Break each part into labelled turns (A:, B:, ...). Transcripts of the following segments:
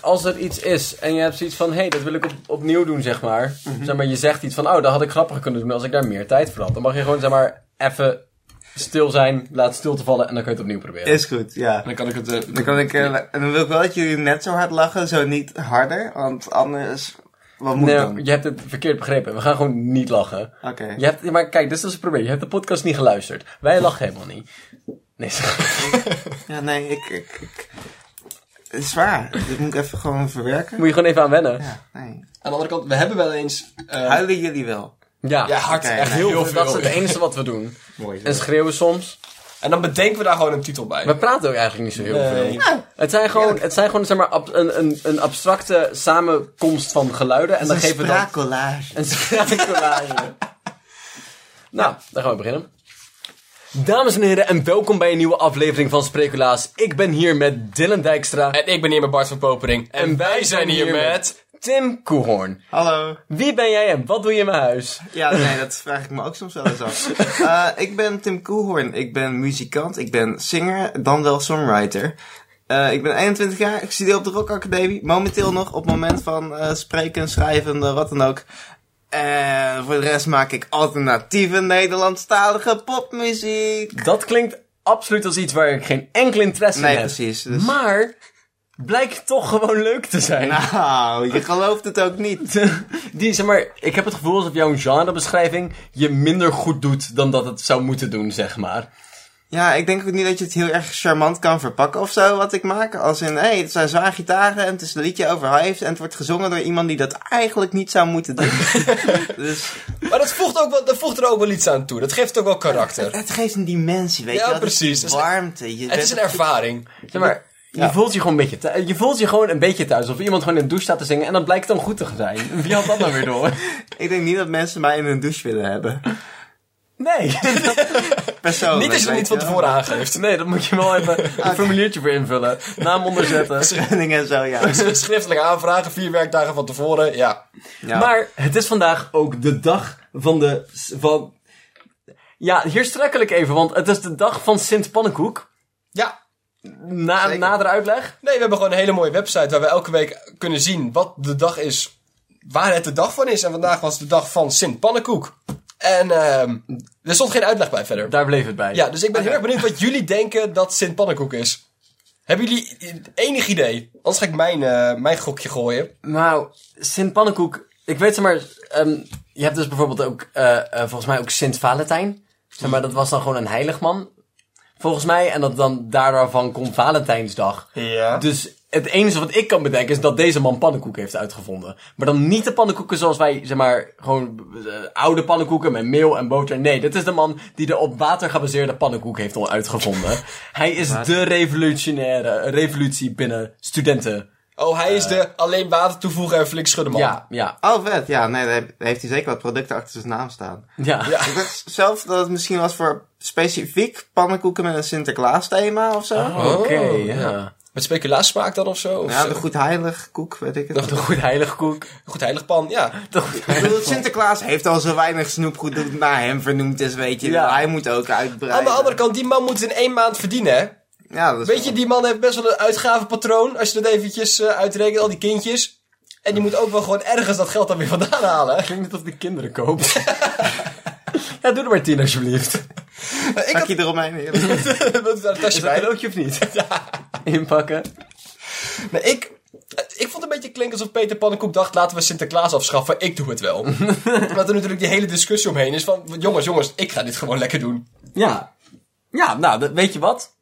A: als er iets is en je hebt zoiets van, hé, hey, dat wil ik op, opnieuw doen, zeg maar.
B: Mhm.
A: Zeg maar, je zegt iets van, oh, dat had ik grappiger kunnen doen als ik daar meer tijd voor had. Dan mag je gewoon, zeg maar, even stil zijn, laat stil te vallen en dan kun je het opnieuw proberen.
B: Is goed, ja.
C: Dan kan ik het... eh,
B: Dan, kan ik, eh, en dan wil ik wel dat jullie net zo hard lachen, zo niet harder. Want anders, wat moet
A: nee,
B: dan? Ah,
A: je hebt het verkeerd begrepen. We gaan gewoon niet lachen.
B: Oké.
A: Je hebt, maar kijk, dit is dus het probleem. Je hebt de podcast niet geluisterd. Wij lachen helemaal niet. Nee,
B: Ja, nee, ik, ik, ik- Het is waar. Dit moet ik even gewoon verwerken.
A: moet je gewoon even aan wennen. Ja,
B: Ja, nee.
C: Aan de andere kant, we hebben wel eens... eh,
B: Huilen jullie wel?
C: ja, hard.
B: Oké,
C: echt
B: nee.
C: Ah, heel,
A: Heel
C: veel.
A: dat is het enige wat we doen.
B: Mooi
A: En schreeuwen soms.
C: En dan bedenken we daar gewoon een titel bij.
A: We praten ook eigenlijk niet zo heel
C: Nee.
A: veel.
B: Nou.
A: Het zijn gewoon, het zijn gewoon zeg maar, ab- een, een, een abstracte samenkomst van geluiden. En dan geven we dan
B: Spraakcollage.
A: een spraakcollage. nou, dan gaan we beginnen. Dames en heren, en welkom bij een nieuwe aflevering van Spreculaas. Ik ben hier met Dylan Dijkstra.
C: En ik ben hier met Bart van Popering. En, wij zijn hier met...
A: Tim Koehoorn.
B: Hallo.
A: Wie ben jij en wat doe je in mijn huis?
B: Ja, nee, dat vraag ik me ook soms wel eens af. Eh, ik ben Tim Koelhoorn. Ik ben muzikant. Ik ben singer, dan wel songwriter. Eh, ik ben 21 jaar. Ik studeer op de Rock Academie. Momenteel nog op het moment van eh, spreken, schrijven, eh, wat dan ook. En voor de rest maak ik alternatieve Nederlandstalige popmuziek.
A: Dat klinkt absoluut als iets waar ik geen enkel interesse
B: Nee,
A: in heb.
B: precies. Dus...
A: Maar blijkt toch gewoon leuk te zijn.
B: Nou, je gelooft het ook niet.
A: Die, zeg maar, ik heb het gevoel alsof jouw genrebeschrijving je minder goed doet dan dat het zou moeten doen, zeg maar.
B: Ja, ik denk ook niet dat je het heel erg charmant kan verpakken of zo, wat ik maak. Als in, hé, hey, het zijn zwaar gitaren en het is een liedje over hives en het wordt gezongen door iemand die dat eigenlijk niet zou moeten doen. dus
C: Maar dat voegt, ook wel, dat voegt er ook wel iets aan toe. Dat geeft ook wel karakter.
B: het geeft een dimensie, weet
C: Ja,
B: je wel.
C: precies. Het is-
B: Warmte. Je
C: Het is
B: bent-
C: een ervaring.
A: Zeg maar, je,
B: Ja.
A: voelt je, gewoon een beetje thu- je voelt je gewoon een beetje thuis. Of iemand gewoon in de douche staat te zingen en dat blijkt dan goed te zijn. Wie had dat nou weer door?
B: Ik denk niet dat mensen mij in hun douche willen hebben.
A: Nee.
B: Persoonlijk.
C: Niet als je het
B: weet
C: niet van
B: je
C: tevoren
B: wel.
C: aangeeft.
A: Nee, dat moet je wel even een formuliertje voor invullen. Naam onderzetten.
B: Training en zo, ja.
C: Schriftelijk aanvragen, vier werkdagen van tevoren. Ja.
B: ja.
A: Maar het is vandaag ook de dag van de. Van... Ja, hier strekkel ik even, want het is de dag van Sint Pannenkoek.
C: Ja.
A: Na,
B: Zeker.
A: nader uitleg.
C: Nee, we hebben gewoon een hele mooie website waar we elke week kunnen zien wat de dag is. Waar het de dag van is. En vandaag was de dag van Sint Pannenkoek. En ehm, er stond geen uitleg bij verder.
A: Daar bleef het bij.
C: Ja, dus ik ben heel erg benieuwd wat jullie denken dat Sint Pannenkoek is. Hebben jullie enig idee? Anders ga ik mijn, eh, mijn gokje gooien.
A: Nou, Sint Pannenkoek. Ik weet zeg maar. ehm, je hebt dus bijvoorbeeld ook. eh, eh, volgens mij ook Sint Valentijn. Zeg maar, dat was dan gewoon een heilig man. Volgens mij. En dat dan daarvan komt Valentijnsdag.
C: Ja.
A: Dus het enige wat ik kan bedenken is dat deze man pannenkoeken heeft uitgevonden. Maar dan niet de pannenkoeken zoals wij, zeg maar, gewoon eh, oude pannenkoeken met meel en boter. Nee, dit is de man die de op water gebaseerde pannenkoek heeft al uitgevonden. Hij is de revolutionaire revolutie binnen studenten.
C: Oh, hij is de alleen water toevoegen en flink schudden man.
A: Ja, ja,
B: Oh, vet. Ja, nee, daar heeft- daar heeft hij zeker wat producten achter zijn naam staan.
A: ja.
C: Ja.
B: Ik dacht zelf dat het misschien was voor specifiek pannenkoeken met een Sinterklaas thema of zo.
A: Oké,
C: Oh,
A: ja.
C: Met speculaas smaak dan of zo? Of
B: Ja,
C: zo?
B: de goed heilig koek, weet ik het.
A: De goed heilige koek.
C: Goed heilig pan, ja.
A: De goed
B: Ik bedoel, Sinterklaas heeft al zo weinig snoepgoed dat het naar hem vernoemd is, weet je.
A: Ja.
B: Hij moet ook uitbreiden.
C: Aan de andere kant, die man moet het in één maand verdienen, hè?
B: Ja, dat is
C: Weet je, die man heeft best wel een uitgavenpatroon. Als je dat eventjes eh, uitrekent, al die kindjes. En die moet ook wel gewoon ergens dat geld dan weer vandaan halen.
A: Klinkt net of de kinderen koopt. ja, doe er maar tien alsjeblieft.
C: Ik had
B: Pakje eromheen, heerlijk.
C: dat is daar een tasje
A: Een
C: bij.
A: cadeautje of niet? Inpakken.
C: Maar ik, ik vond het een beetje klinken alsof Peter Pannenkoek dacht... laten we Sinterklaas afschaffen, ik doe het wel. Omdat er natuurlijk die hele discussie omheen is van... jongens, jongens, ik ga dit gewoon lekker doen.
A: Ja. Ja, nou, dat- weet je wat?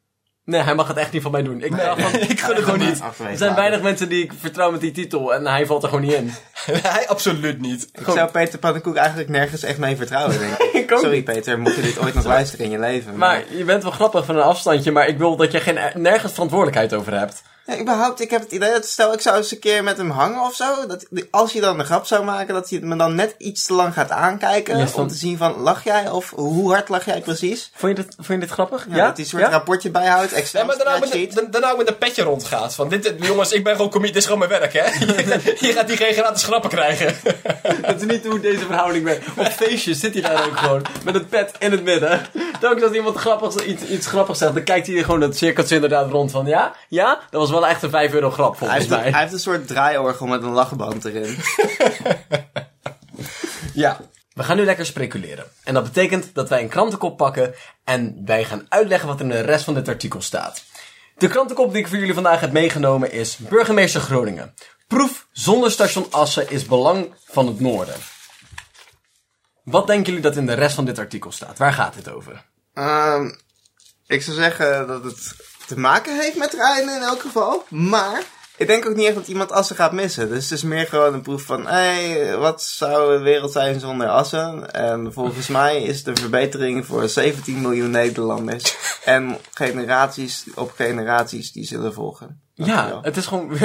A: Nee, hij mag het echt niet van mij doen. Ik, dacht van, ik gun het gewoon
B: maar
A: niet.
B: afweten
A: Er zijn
B: laten.
A: weinig mensen die ik vertrouw met die titel en hij valt er gewoon niet in.
C: Hij absoluut niet.
B: Ik zou Peter Pannenkoek eigenlijk nergens echt mee vertrouwen, denk ik.
A: Ik ook
B: Sorry
A: niet.
B: Peter, mocht je dit ooit nog luisteren in je leven.
A: Maar je bent wel grappig van een afstandje, maar ik wil dat je geen, e- nergens verantwoordelijkheid over hebt.
B: Ja, überhaupt, ik heb het idee dat stel ik zou eens een keer met hem hangen of zo. Dat, als je dan een grap zou maken, dat hij het me dan net iets te lang gaat aankijken.
A: Ja, van-
B: Om te zien van, lach jij of hoe hard lach jij precies?
A: Vond je dit, vond je dit grappig? Ja,
B: Ja, Dat hij een soort rapportje bijhoudt, Excel
C: Ja, maar daarna ook met,
B: spreadsheet.
C: de- daarna ook met een petje rondgaat. Van, dit, jongens, ik ben gewoon comedian, dit is gewoon mijn werk, hè? Je gaat hier geen gratis grappen krijgen.
A: Het is niet hoe deze verhouding werkt. Op feestjes zit hij daar ook gewoon met het pet in het midden. Telkens als iemand grappigs, iets, iets grappigs zegt, dan kijkt hij gewoon het cirkeltje inderdaad rond van ja, ja, dat was wel echt een 5 euro grap,
B: Hij
A: volgens
B: heeft, een,
A: mij.
B: hij heeft een soort draaiorgel met een lachband erin.
C: Ja.
A: We gaan nu lekker speculeren. En dat betekent dat wij een krantenkop pakken en wij gaan uitleggen wat er in de rest van dit artikel staat. De krantenkop die ik voor jullie vandaag heb meegenomen is Burgemeester Groningen. Proef zonder station Assen is belang van het noorden. Wat denken jullie dat in de rest van dit artikel staat? Waar gaat dit over?
B: Ehm, ik zou zeggen dat het te maken heeft met rijden in elk geval. Maar ik denk ook niet echt dat iemand assen gaat missen. Dus het is meer gewoon een proef van... hey, wat zou de wereld zijn zonder assen? En volgens mij is het een verbetering voor 17 miljoen Nederlanders. en generaties op generaties die zullen volgen.
A: Ja,
B: Dankjewel.
A: het is gewoon.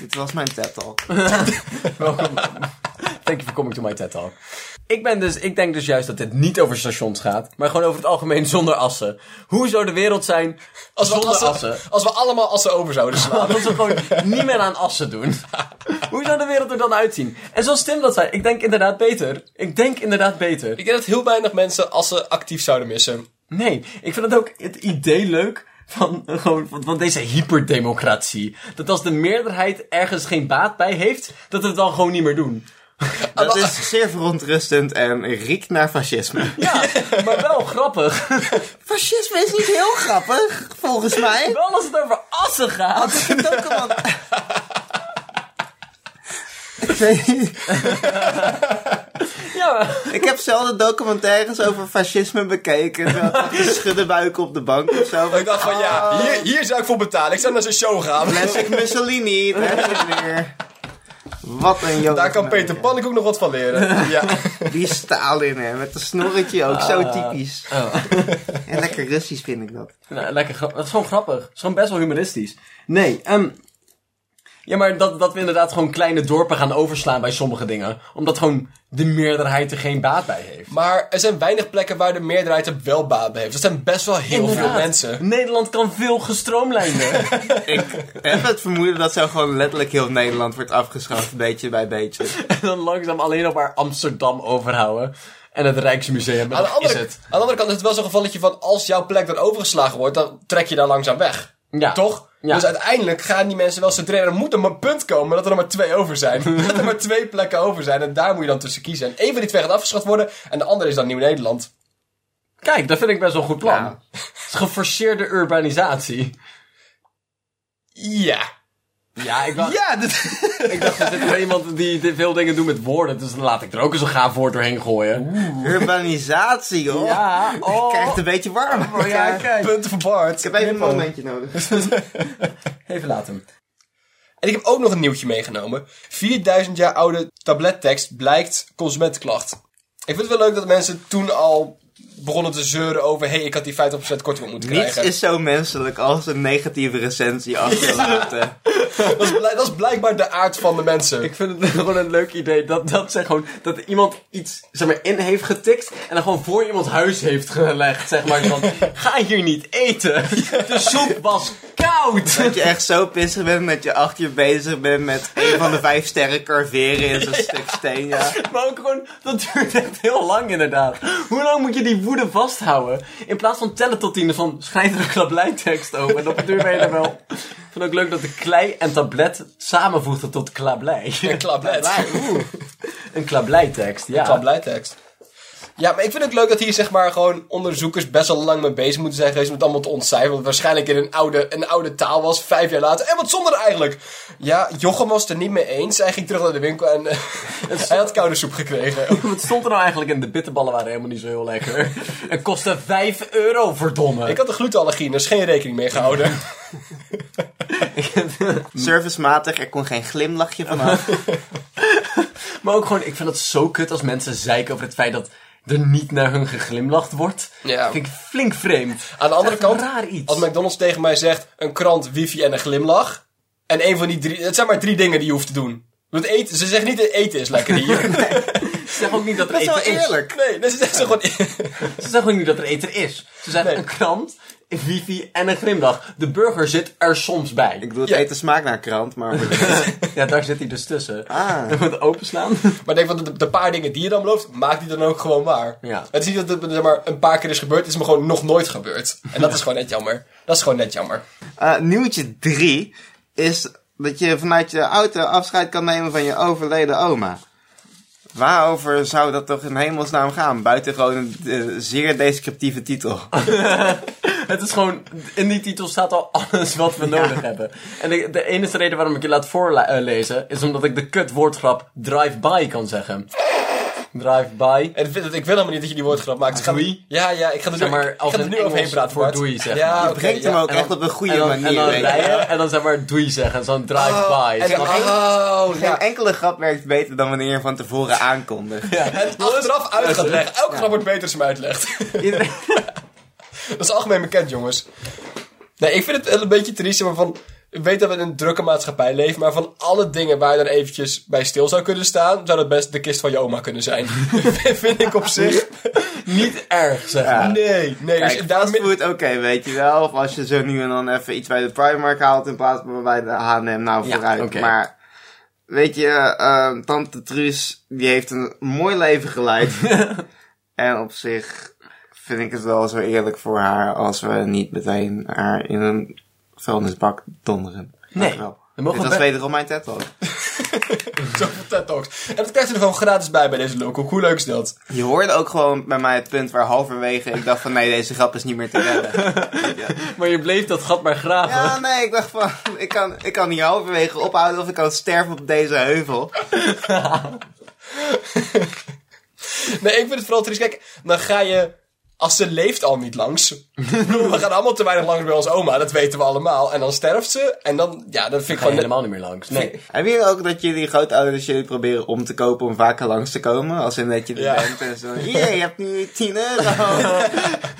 B: Dit was mijn TED al.
A: Welkom. Thank you for coming to my TED Talk. Ik, ben dus, ik denk dus juist dat dit niet over stations gaat, maar gewoon over het algemeen zonder assen. Hoe zou de wereld zijn
C: Als we,
A: zonder
C: assen,
A: assen?
C: als we allemaal assen over zouden slaan.
A: Dat ze gewoon niet meer aan assen doen. Hoe zou de wereld er dan uitzien? En zoals Tim dat zei, ik denk inderdaad beter. Ik denk inderdaad beter.
C: Ik denk dat heel weinig mensen assen actief zouden missen.
A: Nee, ik vind het ook het idee leuk van, eh, gewoon, van, van deze hyperdemocratie. Dat als de meerderheid ergens geen baat bij heeft, dat we het dan gewoon niet meer doen.
B: Dat is zeer verontrustend en riekt naar fascisme.
A: Ja, maar wel grappig.
B: Fascisme is niet heel grappig, volgens mij.
A: Wel als het over assen gaat.
B: Ik vind het ook allemaal- Ik weet niet.
A: Ja, maar-
B: Ik heb zelden documentaires over fascisme bekeken. terwijl ik dacht, Schudden buiken op de bank of zo.
C: Ik dacht van ja,
A: Ah.
C: hier, hier zou ik voor betalen. Ik zou naar zijn show gaan.
B: Classic Mussolini, daar is het weer. Wat een jongen.
C: Daar kan Peter Pannek ook nog wat van leren. Ja.
B: Die Stalin, hè, met een snorretje ook.
C: Ah.
B: Zo typisch.
C: Oh.
B: En lekker Russisch vind ik dat.
A: Nou, lekker grap- Dat is gewoon grappig. Dat is gewoon best wel humoristisch. Nee, ehm Ja, maar dat, dat we inderdaad gewoon kleine dorpen gaan overslaan bij sommige dingen. Omdat gewoon de meerderheid er geen baat bij heeft.
C: Maar er zijn weinig plekken waar de meerderheid er wel baat bij heeft. Dat zijn best wel heel veel
A: Inderdaad.
C: mensen.
A: Nederland kan veel gestroomlijnder.
B: Ik heb het vermoeden dat zo gewoon letterlijk heel Nederland wordt afgeschaft. Beetje bij beetje.
A: en dan langzaam alleen nog maar Amsterdam overhouden. En het Rijksmuseum. En
C: Aan de,
A: dat
C: andere,
A: is het.
C: aan de andere kant is het wel zo'n gevalletje van als jouw plek dan overgeslagen wordt, dan trek je daar langzaam weg.
A: Ja.
C: Toch?
A: Ja.
C: Dus uiteindelijk gaan die mensen wel centreren. Er moet er maar een punt komen dat er nog maar twee over zijn. dat er maar twee plekken over zijn en daar moet je dan tussen kiezen. En één van die twee gaat afgeschaft worden en de andere is dan Nieuw-Nederland.
A: Kijk, dat vind ik best wel een goed plan.
B: Ja.
A: Het is geforceerde urbanisatie.
C: Ja.
A: Ja, ik dacht,
C: Ja, dit-
A: ik dacht er zit er iemand die die veel dingen doet met woorden. Dus dan laat ik er ook eens een gaaf woord doorheen gooien.
B: Urbanisatie, joh.
A: Ja, oh.
B: Ik krijg het een beetje warm.
A: ja, kijk.
C: punten voor Bart.
B: Ik heb even een momentje nodig.
A: Even laten.
C: En ik heb ook nog een nieuwtje meegenomen. 4000 jaar oude tablettekst blijkt consumentenklacht. Ik vind het wel leuk dat mensen toen al begonnen te zeuren over... ...hé, hey, ik had die 50% korting moeten
B: Niets
C: krijgen.
B: is zo menselijk als een negatieve recensie achterlaten.
C: Dat, is blijk- dat is blijkbaar de aard van de mensen.
A: Ik vind het gewoon een leuk idee dat, dat, zeg gewoon, dat iemand iets zeg maar, in heeft getikt en dan gewoon voor iemands huis heeft gelegd. Zeg maar van, ga hier niet eten. De soep was koud.
B: Dat je echt zo pissig bent dat je acht uur bezig bent met een van de vijf sterren carveren in zo'n stuk steen. Ja.
A: Maar ook gewoon, dat duurt echt heel lang inderdaad. Hoe lang moet je die woede vasthouden? In plaats van tellen tot tien, van schrijf er een klablijtekst over. En dat duurt ben je er wel. Ik vind het ook leuk dat de klei en tablet samenvoegden tot klablij.
C: Een klablet.
A: Een klablijtekst, ja.
C: Klableitekst. Ja, maar ik vind het leuk dat hier zeg maar gewoon onderzoekers best wel lang mee bezig moeten zijn geweest om het allemaal te ontcijferen. Wat waarschijnlijk in een oude, een oude taal was, vijf jaar later. En wat zonder eigenlijk? Ja, Jochem was het er niet mee eens. Hij ging terug naar de winkel en eh, hij had koude soep gekregen.
A: Wat stond er nou eigenlijk in? De bitterballen waren helemaal niet zo heel lekker. Het kostte 5 euro, verdomme.
C: Ik had een glutenallergie, dus geen rekening mee gehouden.
B: Servicematig, er kon geen glimlachje vanaf.
A: Maar ook gewoon, ik vind het zo kut als mensen zeiken over het feit dat er niet naar hun geglimlacht wordt.
C: Ja.
A: Dat vind ik flink vreemd.
C: Aan de andere
A: Dat is
C: kant,
A: een raar iets.
C: als McDonald's tegen mij zegt een krant, wifi en een glimlach. En een van die drie, het zijn maar drie dingen die je hoeft te doen. Want eten, ze zeggen niet dat eten is lekker hier.
A: Ze zeggen ook niet dat er
B: Dat is wel
A: eten is.
B: eerlijk.
C: Nee, dat is echt zo gewoon...
A: Ze zeggen ook niet dat er eten is. Ze zeggen
C: Nee.
A: een krant wifi en een glimlach. De burger zit er soms
B: Ik
A: bij.
B: bedoel, het
C: Ja.
B: eet de smaak naar krant, maar...
A: Ja, daar zit hij dus tussen.
B: Ah.
A: Dat moet openslaan.
C: Maar ik denk van de, de paar dingen die je dan belooft, maak die dan ook gewoon waar.
A: Ja.
C: Het is niet dat het zeg maar, een paar keer is gebeurd, het is me gewoon nog nooit gebeurd. En dat is gewoon net jammer. Dat is gewoon net jammer.
B: Eh, nieuwtje 3 is dat je vanuit je auto afscheid kan nemen van je overleden oma. Waarover zou dat toch in hemelsnaam gaan? Buiten gewoon een eh, zeer descriptieve titel.
A: Het is gewoon, in die titel staat al alles wat we nodig hebben. En de, de enige reden waarom ik je laat voorlezen, is omdat ik de kut woordgrap drive-by kan zeggen. Drive-by.
C: En ik vind het- ik wil helemaal niet dat je die woordgrap maakt. Ik ga-
A: Doei.
C: Ja, ja, ik ga er nu,
A: Zeg maar,
C: ik ga
A: als
C: er
A: in
C: nu overheen
A: Engels
C: praten.
A: voor
C: Bart.
A: doei zeggen.
C: Ja,
A: Je
C: oké,
B: brengt hem
C: ja.
B: ook
A: En
B: echt
A: dan-
B: op een goede
A: en dan-
B: manier.
A: En dan
B: weet je.
A: rijden, en dan zeg maar doei zeggen, zo'n drive-by.
C: En dan,
A: Snap je?
C: oh,
B: Geen
C: ja.
B: enkele grap werkt beter dan wanneer je van tevoren aankondigt.
C: En achteraf uit gaat leggen. Elke grap wordt beter als je hem uitlegt.
B: Iedereen-
C: Dat is algemeen bekend, jongens. Nee, ik vind het wel een beetje triest, maar van... Ik weet dat we in een drukke maatschappij leven, maar van alle dingen waar je dan eventjes bij stil zou kunnen staan, zou dat best de kist van je oma kunnen zijn. vind ik op zich.
A: Niet erg, zeg maar.
C: Nee, nee. dus
B: Kijk,
C: daarom-
B: fastfood, oké, weet je wel. Of als je zo nu en dan even iets bij de Primark haalt in plaats van bij de H&M, nou
A: Ja,
B: vooruit.
A: oké.
B: Maar, weet je, eh, tante Truus, die heeft een mooi leven geleid. en op zich vind ik het wel zo eerlijk voor haar als we niet meteen haar in een vuilnisbak donderen.
A: Nee,
B: Dat wel.
A: we mogen
B: Dit was
A: be-
B: wederom mijn TED Talk.
C: Zoveel TED Talks. En dat krijgt u er gewoon gratis bij bij deze local. Hoe leuk is dat?
B: Je hoorde ook gewoon bij mij het punt waar halverwege ik dacht van nee, deze grap is niet meer te redden.
A: Maar je bleef dat gat maar graven.
B: Ja, nee, ik dacht van, ik kan, ik kan hier halverwege ophouden of ik kan sterven op deze heuvel.
C: Nee, ik vind het vooral triest. Kijk, dan ga je... Als ze leeft al niet langs. Ik bedoel, We gaan allemaal te weinig langs bij ons oma, dat weten we allemaal. En dan sterft ze. En dan, ja, dat vind ik
A: Ga je
C: gewoon...
A: helemaal niet meer langs. Nee.
B: Hebben jullie ook dat jullie grootouders jullie proberen om te kopen om vaker langs te komen? Als in dat je er
C: Ja.
B: bent en zo, hier, je hebt nu 10 euro.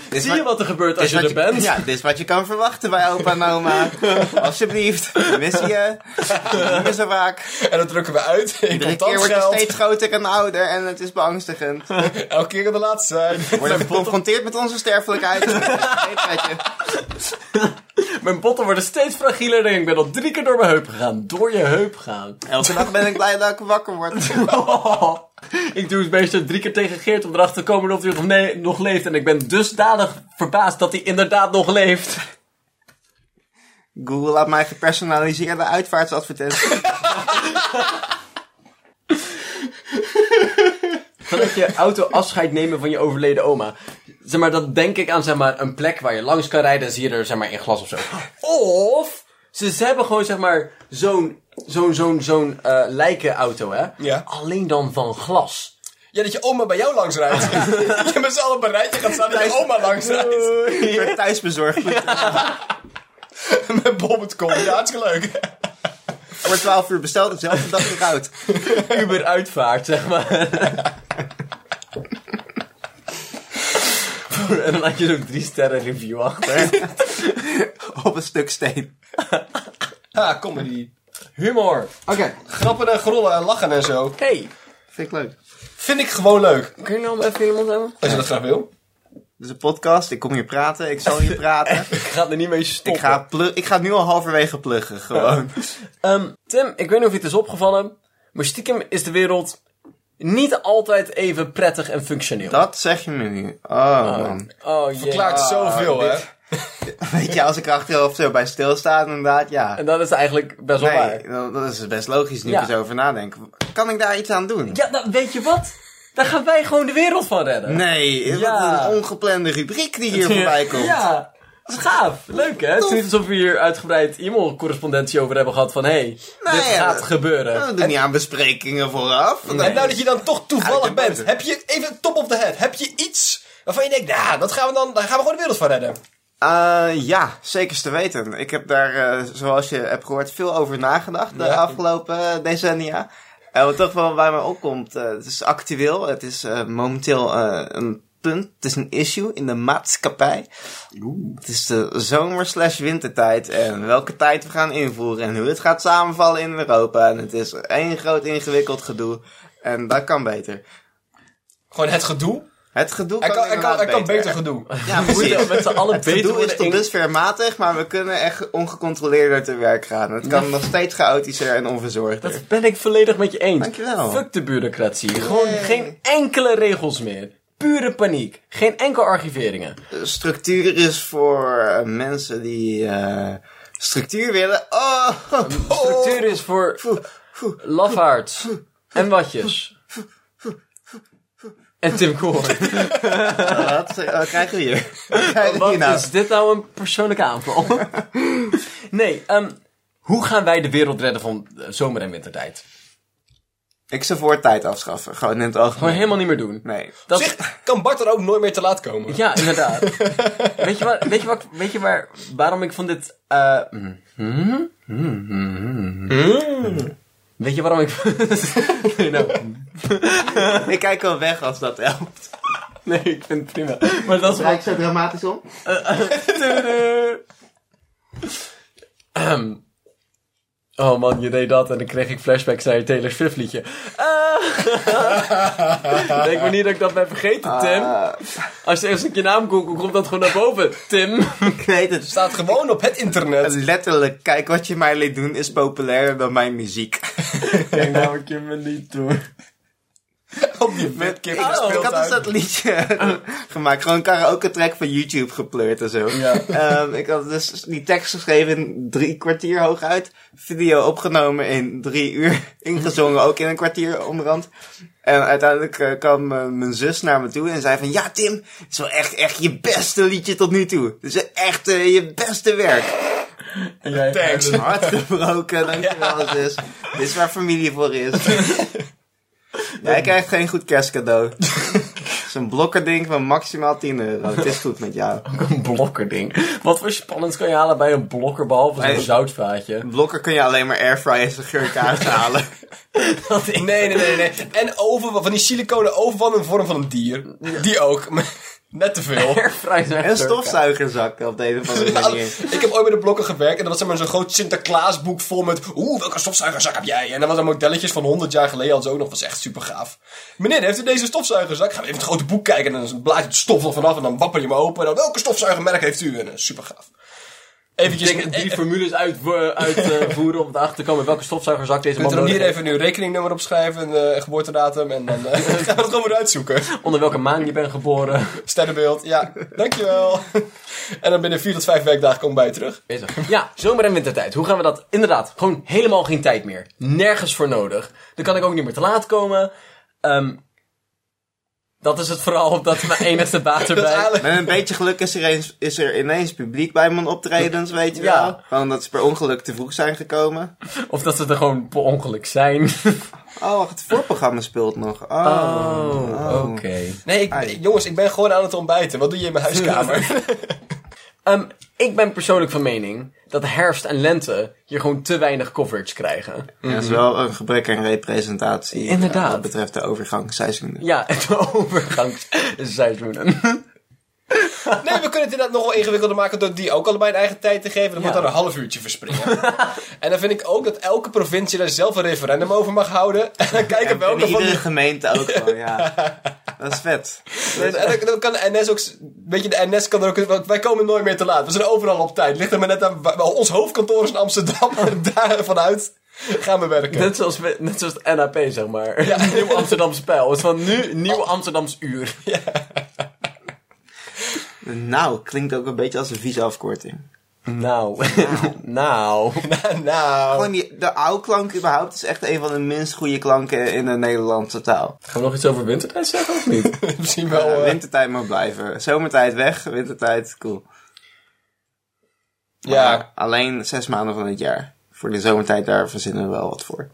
B: Dit is
A: Zie je wat er gebeurt als
B: dit is
A: je er
B: wat
A: bent?
B: Ja, dit is wat je kan verwachten bij opa en oma. Alsjeblieft, we missen je. We Niet meer zo vaak.
C: En dat drukken we uit in
B: Iedere keer
C: contant
B: word je
C: geld.
B: steeds groter en ouder en het is beangstigend.
C: Elke keer aan de laatste zijn.
B: Worden geconfronteerd met onze sterfelijkheid. Steeds met je.
A: Mijn botten worden steeds fragieler en ik ben al drie keer door mijn heup gegaan. Door je heup gaan.
B: Elke dag ben ik blij dat ik wakker word.
A: ik doe het meeste drie keer tegen Geert om erachter te komen of hij nog, nee- nog leeft. En ik ben dusdanig verbaasd dat hij inderdaad nog leeft.
B: Google laat mij gepersonaliseerde uitvaartsadvertenties.
A: Vanuit je auto afscheid nemen van je overleden oma. Zeg maar, dat denk ik aan zeg maar, een plek waar je langs kan rijden en zie je er zeg maar, in glas of zo. Of ze, ze hebben gewoon zeg maar, zo'n zo'n zo'n zo'n eh, lijkenauto, hè?
C: Ja.
A: Alleen dan van glas.
C: Ja, dat je oma bij jou langs rijdt. je met z'n allen op een rijtje gaat staan dat je oma langs rijdt.
B: Voor thuisbezorgd.
C: Met Bobbert komt. Ja, hartstikke leuk.
B: Voor 12 uur besteld, dezelfde dag weer uit.
A: Uber uitvaart, zeg maar. en dan had je zo'n drie sterren review achter.
B: Op een stuk steen.
C: Ah, comedy.
A: Humor.
B: Oké.
C: Grappen en grollen en lachen en zo.
A: Hey,
B: Vind ik leuk.
C: Vind ik gewoon leuk.
A: kun je nou even iemand hebben?
C: Als je dat graag wil.
B: Dit is een podcast, ik kom hier praten, ik zal hier praten.
A: Ik ga er niet mee stoppen.
B: ik, ga plu- ik ga nu al halverwege pluggen, gewoon.
A: Ehm, Tim, ik weet niet of je het is opgevallen, maar stiekem is de wereld niet altijd even prettig en functioneel.
B: Dat zeg je me nu. Oh, man.
A: Oh jee.
C: Klaart zoveel, hè.
B: Weet je, als ik achteraf zo bij stilsta, inderdaad, ja.
A: En dat is eigenlijk best wel
B: Nee,
A: waar.
B: dat dat is best logisch nu
A: Ja.
B: ik er zo over nadenken. Kan ik daar iets aan doen?
A: Ja, nou, weet je wat? Daar gaan wij gewoon de wereld van redden.
B: Nee,
A: Ja.
B: wat een ongeplande rubriek die hier voorbij komt.
A: Ja. Dat is gaaf. Leuk, hè? Het is niet alsof we hier uitgebreid e-mail-correspondentie over hebben gehad van... hé, hey, dit
B: ja,
A: gaat
B: dat-
A: gebeuren.
B: Nou, we doen niet aan besprekingen vooraf.
C: En nou dat je dan toch
B: Uit
C: toevallig
B: de
C: bent,
B: boter.
C: heb je even top of the head. Heb je iets waarvan je denkt, nou, dat gaan we dan, daar gaan we gewoon de wereld van redden.
B: Eh, ja, zeker te weten. Ik heb daar, eh, zoals je hebt gehoord, veel over nagedacht de
C: Ja.
B: afgelopen eh, decennia. En wat toch wel bij me opkomt, eh, het is actueel. Het is eh, momenteel eh, een punt. Het is een issue in de maatschappij. Het is de zomer slash wintertijd. En welke tijd we gaan invoeren. En hoe het gaat samenvallen in Europa. En het is één groot ingewikkeld gedoe. En dat kan beter.
C: Gewoon het gedoe.
B: Het gedoe
C: Hij
B: kan,
C: kan, hij kan,
B: inderdaad
C: hij kan beter
B: beter.
C: gedoe.
B: Ja,
A: We moeten
B: precies.
A: met z'n allen
B: Het
A: beter
B: doel is
A: worden
B: tot dus
A: in...
B: dusver matig, maar we kunnen echt ongecontroleerder te werk gaan. Het kan nog steeds chaotischer en onverzorgder.
A: Dat ben ik volledig met je eens.
B: Dankjewel.
A: Fuck de bureaucratie. Gewoon geen enkele regels meer. Pure paniek. Geen enkel archiveringen.
B: Structuur is voor eh, mensen die eh, structuur willen. Oh,
A: Structuur is voor lafaards en watjes. En Tim Kool.
B: Wat, eh, wat krijgen we hier? Wat krijgen we
A: Wat
B: hier nou?
A: is dit nou een persoonlijke aanval? nee, ehm, hoe gaan wij de wereld redden van eh, zomer- en wintertijd?
B: Ik zou voor tijd afschaffen, gewoon in het
A: Gewoon
B: algemeen.
A: helemaal niet meer doen.
B: Nee.
A: Dat,
C: Zich, kan Bart er ook nooit meer te laat komen?
A: Ja, inderdaad. weet je, wat, weet je, wat, weet je waar, waarom ik van dit... eh, mm, mm, mm, mm, mm. Weet je waarom ik... nee, nou,
B: Ik kijk wel weg als dat helpt.
A: nee, ik vind het prima. Maar dat is
B: Draai
A: wel...
B: ik zo dramatisch om?
A: Ahem. Oh man, je deed dat en dan kreeg ik flashbacks naar je Taylor Swift liedje. Ah. Denk maar niet dat ik dat ben vergeten, Tim.
B: Ah,
A: Als je eerst een keer naam googelt, komt dat gewoon naar boven, Tim.
B: ik weet het.
C: Staat gewoon op het internet.
B: Letterlijk, kijk wat je mij liet doen is populairder dan mijn muziek.
A: Ik denk nou ik je me niet doen.
C: Op je webcam in de
A: Oh,
B: ik had dus
C: speeltuin.
B: dat liedje gemaakt. Gewoon een karaoke track van YouTube gepleurd en zo.
A: Ja.
B: Ehm, ik had dus die tekst geschreven in drie kwartier hooguit. Video opgenomen in drie uur. Ingezongen ook in een kwartier onderhand. En uiteindelijk eh, kwam eh, mijn zus naar me toe en zei van... Ja Tim, het is wel echt, echt je beste liedje tot nu toe. Het is echt eh, je beste werk.
A: En jij-
C: Thanks.
B: Hard gebroken, dankjewel zus. Dit is waar familie voor is. Ja, Hij krijgt geen goed kerstcadeau. Zo'n blokkerding van maximaal 10 euro. Het is goed met jou.
A: Een blokkerding. Wat voor spannend kan je halen bij een blokker, behalve zo'n
B: Nee.
A: zoutvaatje?
B: Blokker kun je alleen maar airfryen en zijn geurkaars halen.
A: Dat ik-
C: Nee, nee, nee, nee. En oven, van die siliconen oven van een vorm van een dier. Die ook. maar Net te veel.
A: Airfryer zijn
B: En
A: turken.
B: stofzuigerzakken op de een of andere
C: Ja,
B: manier.
C: Nou, ik heb ooit bij de blokken gewerkt en dat was zeg maar zo'n groot Sinterklaasboek vol met. Oeh, welke stofzuigerzak heb jij? En dan was er modelletjes van 100 jaar geleden al zo nog. was echt super gaaf. Meneer, heeft u deze stofzuigerzak? Gaan we even het grote boek kijken en dan is een blaadje stof er vanaf en dan wapper je hem open. En dan welke stofzuigermerk heeft u? En eh, super gaaf.
A: Ik
C: Eventjes. eh,
A: denk dat die formules uitvoeren uit, eh, voeren om erachter te komen welke stofzuigerzak deze man
C: Kunt er
A: nodig
C: hier
A: heeft.
C: even uw rekeningnummer op schrijven en eh, geboortedatum en dan eh, gaan we het gewoon weer uitzoeken.
A: Onder welke maan je bent geboren.
C: Sterrenbeeld, ja, dankjewel. en dan binnen 4 tot 5 werkdagen kom ik bij je terug.
A: Bezig. Ja, zomer- en wintertijd. Hoe gaan we dat? Inderdaad, gewoon helemaal geen tijd meer. Nergens voor nodig. Dan kan ik ook niet meer te laat komen. Ehm, dat is het vooral, dat is mijn enige baat
C: Dat is
A: erbij.
C: eigenlijk-
B: Met een beetje geluk is er, eens, is er ineens publiek bij mijn optredens, weet je
A: Ja.
B: wel. Gewoon dat ze per ongeluk te vroeg zijn gekomen.
A: Of dat ze er gewoon per ongeluk zijn.
B: Oh, wacht, het voorprogramma speelt nog. Oh,
A: Oh, oké.
C: Nee, ik-
B: Ai.
C: jongens, ik ben gewoon aan het ontbijten. Wat doe je in mijn huiskamer?
A: Ehm, ik ben persoonlijk van mening dat herfst en lente hier gewoon te weinig coverage krijgen.
B: Ja, dat is wel een gebrek aan representatie. eh,
A: Inderdaad.
B: Wat betreft de overgangsseizoenen.
A: Ja, en de overgangsseizoenen.
C: nee, we kunnen het inderdaad nog wel ingewikkelder maken door die ook allebei een eigen tijd te geven. Dan wordt
A: Ja.
C: dan een half uurtje verspringen. en dan vind ik ook dat elke provincie daar zelf een referendum over mag houden. En dan kijken
B: En
C: welke van
B: iedere
C: die...
B: gemeente ook wel, ja. Dat is vet.
C: En dan- dan kan de NS ook... s- Weet je, de NS kan er ook... want Wij komen nooit meer te laat. We zijn overal op tijd. Ligt er maar net aan... wa- Ons hoofdkantoor is in Amsterdam. En daar vanuit gaan we werken.
A: Net zoals, we- net zoals het NAP, zeg maar. Nieuw Amsterdamse pijl. Het is van nu Nieuw Amsterdams uur.
B: Nou, klinkt ook een beetje als een vieze afkorting.
A: Nou. nou.
C: nou...
B: Gewoon die, de ouwklank überhaupt is echt een van de minst goede klanken in de Nederlandse taal.
A: Gaan we nog iets over wintertijd zeggen of niet?
C: Misschien wel...
B: Eh,
C: eh,
B: wintertijd moet blijven. Zomertijd weg, wintertijd cool.
C: ja.
B: Maar alleen zes maanden van het jaar. Voor de zomertijd daar verzinnen we wel wat voor.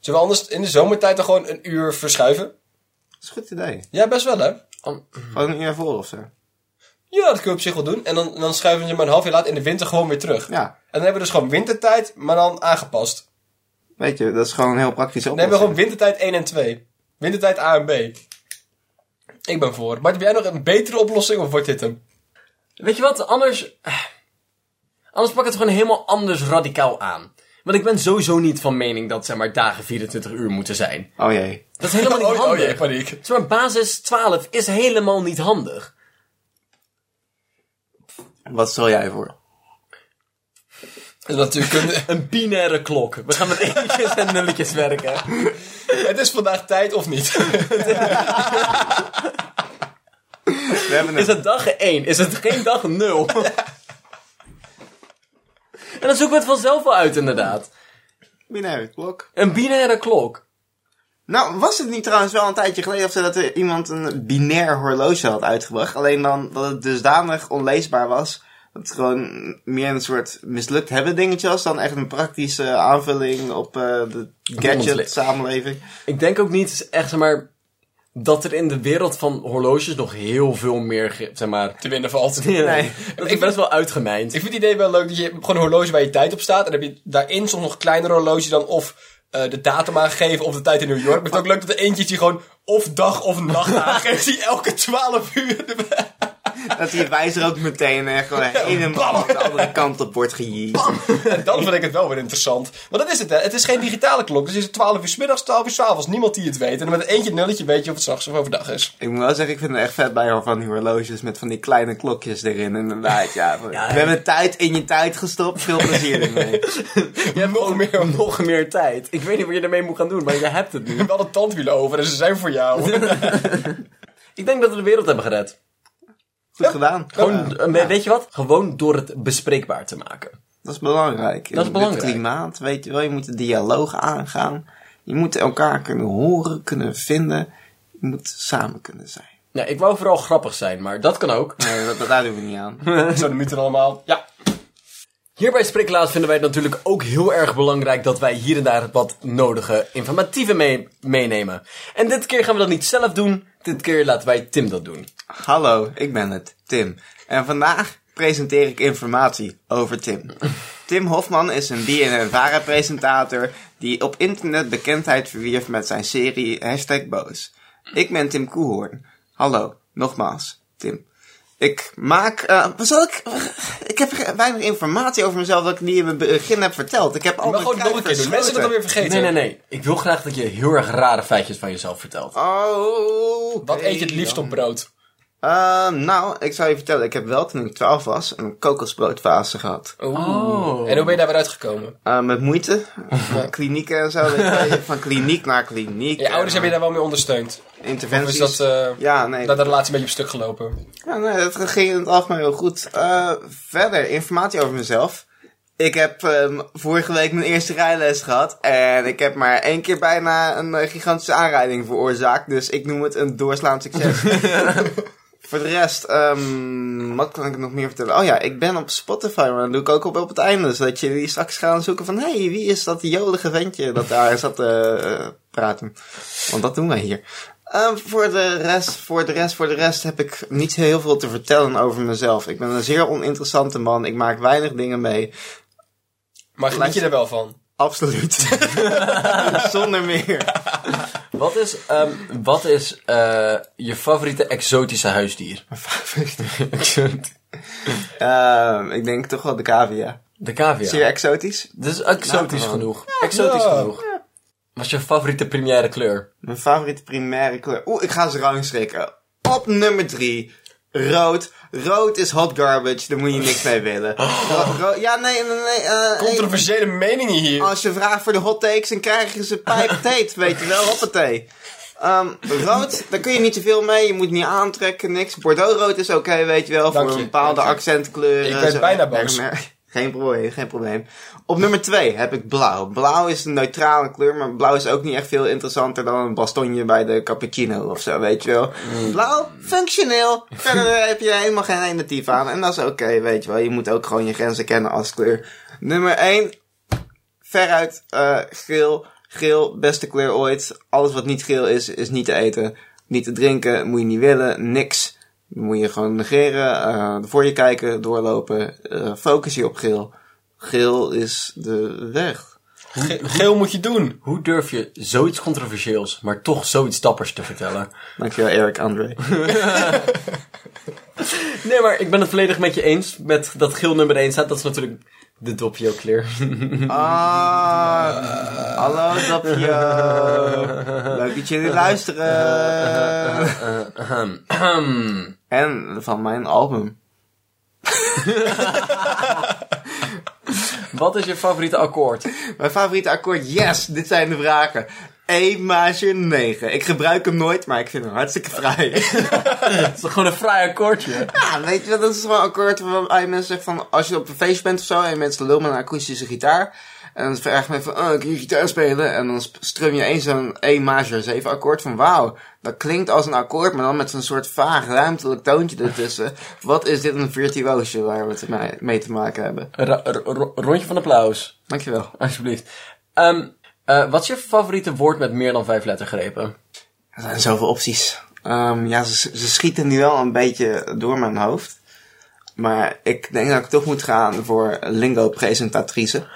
C: Zullen we anders in de zomertijd dan gewoon een uur verschuiven?
B: Dat is een goed idee.
C: Ja, best wel hè.
A: Om-
B: Gewoon een uur voor of zo.
C: Ja, dat kun je op zich wel doen. En dan, dan schuiven ze maar een half jaar later in de winter gewoon weer terug. En
B: Ja,
C: dan hebben we dus gewoon wintertijd, maar dan aangepast. Dan
B: weet je, dat is gewoon een heel praktisch
C: hebben we
B: oplossing.
C: gewoon wintertijd 1 en 2. Wintertijd A en B. Ik ben voor. Maar heb jij nog een betere oplossing of wordt dit hem?
A: Weet je wat? Anders... eh, Anders pak ik het gewoon helemaal anders radicaal aan. Want ik ben sowieso niet van mening dat zeg maar, dagen 24 uur moeten zijn.
B: Oh jee.
A: Dat is helemaal niet
C: Oh,
A: handig.
C: oh jee, paniek.
A: Zeg maar, basis 12 is helemaal niet handig.
B: Wat stel jij voor?
C: En Natuurlijk,
A: Een binaire klok. We gaan met eentjes en nulletjes werken.
C: het is vandaag tijd of niet.
B: We hebben
A: Is
B: een...
A: het dag 1? Is het geen dag 0? En dan zoeken we het vanzelf wel uit, inderdaad.
B: binaire klok.
A: Een binaire klok.
B: Nou, was het niet trouwens wel een tijdje geleden of zo dat er iemand een binair horloge had uitgebracht? Alleen dan dat het dusdanig onleesbaar was. Dat het gewoon meer een soort mislukt hebben dingetje was dan echt een praktische aanvulling op eh, de
A: Bondsleven.
B: gadget samenleving.
A: Ik denk ook niet, echt zeg maar, dat er in de wereld van horloges nog heel veel meer, ge- zeg maar...
C: Te winnen valt.
A: Nee, dat is
C: Ik-
A: best wel uitgemijnd.
C: Ik vind het idee wel leuk dat je hebt gewoon een horloge waar je tijd op staat. En dan heb je daarin soms nog een kleiner horloge dan of eh, de datum aangegeven of de tijd in New York. Maar het is ook leuk dat er eentje is die gewoon of dag of nacht aangeeft. Die elke 12 uur. de-
B: Dat die wijzer ook meteen eh, gewoon helemaal de andere kant op wordt gejiet.
C: En dan vind ik het wel weer interessant. Want dat is het, hè. Het is geen digitale klok. Dus is het 12 uur 's middags, 12 uur 's avonds. Niemand die het weet. En dan met eentje nulletje weet je of het 's nachts of overdag is.
B: Ik moet wel zeggen, ik vind het echt vet bij van die horloges met van die kleine klokjes erin. Inderdaad, ja. We hebben tijd in je tijd gestopt. Veel plezier ermee.
C: Je hebt nog meer.
A: nog meer tijd. Ik weet niet wat je ermee moet gaan doen, maar je hebt het nu.
C: We hadden tandwielen over, dus ze zijn voor jou.
A: Ik denk dat we de wereld hebben gered.
B: Goed gedaan.
A: Gewoon, eh, weet je wat? Gewoon door het bespreekbaar te maken.
B: Dat is belangrijk.
A: Dat is belangrijk.
B: Het klimaat, weet je wel. Je moet de dialoog aangaan. Je moet elkaar kunnen horen, kunnen vinden. Je moet samen kunnen zijn.
A: Nou, ik wou vooral grappig zijn, maar dat kan ook.
B: Nee, dat, daar doen we niet aan.
C: Zo de mythen allemaal. Ja.
A: Hier bij Spreeklaas vinden wij het natuurlijk ook heel erg belangrijk dat wij hier en daar wat nodige informatieve mee- meenemen. En dit keer gaan we dat niet zelf doen, dit keer laten wij Tim dat doen.
B: Hallo, ik ben het, Tim. En vandaag presenteer ik informatie over Tim. Tim Hofman is een BNNVARA-presentator die op internet bekendheid verwierf met zijn serie Hashtag Boos. Ik ben Tim Koehoorn. Hallo, nogmaals, Tim. Ik maak... eh zal ik... ik heb er weinig informatie over mezelf dat ik die in het begin heb verteld. Ik heb al
C: Maar
B: mijn
C: gewoon
B: kruid
C: nog een keer doen. Mensen
B: verschoten.
C: dat dan weer vergeten.
A: Nee, nee, nee. Ik wil graag dat je heel erg rare feitjes van jezelf vertelt.
B: Oh...
C: Wat eet je het
B: oké
C: liefst
B: dan.
C: op brood?
B: Eh, nou, ik zou je vertellen, ik heb wel toen ik 12 was een kokosbroodfase gehad.
A: Oh.
C: En hoe ben je daar weer uitgekomen?
B: Eh, met moeite. Van klinieken en zo. weet je wel. van kliniek naar kliniek.
C: Je ouders
B: En,
C: hebben je daar wel mee ondersteund.
B: eh, interventies.
C: Of is dat, eh,
B: ja, nee.
C: Dat de relatie een beetje op stuk gelopen.
B: ja, nee, dat ging in het algemeen heel goed. Eh, verder, informatie over mezelf. Ik heb ehm, vorige week mijn eerste rijles gehad. En ik heb maar één keer bijna een eh, gigantische aanrijding veroorzaakt. Dus ik noem het een doorslaand succes. Voor de rest, ehm, wat kan ik nog meer vertellen? Oh ja, ik ben op Spotify, maar dat doe ik ook op, op het einde. Zodat jullie straks gaan zoeken van... Hé, hey, wie is dat jolige ventje dat daar zat te eh, praten? Want dat doen wij hier. Ehm, voor, de rest, voor de rest, voor de rest heb ik niet heel veel te vertellen over mezelf. Ik ben een zeer oninteressante man. Ik maak weinig dingen mee.
C: Maar geniet je er wel van?
B: Absoluut. Zonder meer.
A: Wat is, ehm, wat is eh, je favoriete exotische huisdier?
B: Ehm, ik denk toch wel de cavia.
A: De cavia.
B: Zeer exotisch.
A: Dit is exotisch
B: Nou,
A: genoeg. Exotisch
C: ja.
A: genoeg. Wat is je favoriete première kleur?
B: Mijn favoriete primaire kleur. Oeh, ik ga ze rangschikken. Op nummer 3. Rood. Rood is hot garbage. Daar moet je niks mee willen. Ro- ro- ja, nee, nee, nee. eh, nee.
C: Controversiële meningen hier.
B: Als je vraagt voor de hot takes, dan krijg je ze pijp teet. Weet je wel, hoppatee. Ehm, rood, daar kun je niet zoveel mee. Je moet niet aantrekken, niks. Bordeauxrood is oké, weet je wel.
C: Dank
B: voor
C: je,
B: een bepaalde
C: dank je.
B: accentkleuren.
C: Ik ben
B: zo.
C: bijna boos.
B: Merk- merk- Geen probleem, geen probleem. Op nummer 2 heb ik blauw. Blauw is een neutrale kleur, maar blauw is ook niet echt veel interessanter dan een bastonje bij de cappuccino of zo, weet je wel.
C: Mm.
B: Blauw, functioneel. Verder heb je helemaal geen natief aan en dat is oké, weet je wel. Je moet ook gewoon je grenzen kennen als kleur. Nummer 1, veruit eh, geel. Geel, beste kleur ooit. Alles wat niet geel is, is niet te eten. Niet te drinken, moet je niet willen, niks. Moet je gewoon negeren, eh, voor je kijken, doorlopen. eh, focus je op geel. Geel is de weg.
C: Ge- Geel moet je doen.
A: Hoe durf je zoiets controversieels, maar toch zoiets dappers te vertellen?
B: Dankjewel, Eric André.
A: Nee, maar ik ben het volledig met je eens. Met dat geel nummer 1 staat. Dat is natuurlijk de dopje ook clear.
B: Ah, hallo Dapje. Leuk dat jullie luisteren. En van mijn album.
A: Wat is je favoriete akkoord?
B: Mijn favoriete akkoord, yes, dit zijn de vragen. E majeur 9. Ik gebruik hem nooit, maar ik vind hem hartstikke vrij.
A: Het is toch gewoon een fraai akkoordje?
B: ja, weet je wel, dat is gewoon een akkoord waar je mensen zegt van... Als je op een feest bent of zo en je mensen lullen met een akoestische gitaar... En dan vraagt men van, oh, kun je gitaar spelen? En dan sp- strum je eens zo'n E majeur 7 akkoord van, wauw, dat klinkt als een akkoord, maar dan met zo'n soort vaag ruimtelijk toontje ertussen. Wat is dit een virtuoosje waar we het mee- mee te maken hebben?
A: Ra- ro- ro- rondje van applaus,
B: Dankjewel.
A: alsjeblieft. Ehm, eh, wat is je favoriete woord met meer dan vijf lettergrepen?
B: Er zijn zoveel opties. Ehm, ja, ze, ze schieten nu wel een beetje door mijn hoofd. Maar ik denk dat ik toch moet gaan voor lingo-presentatrice.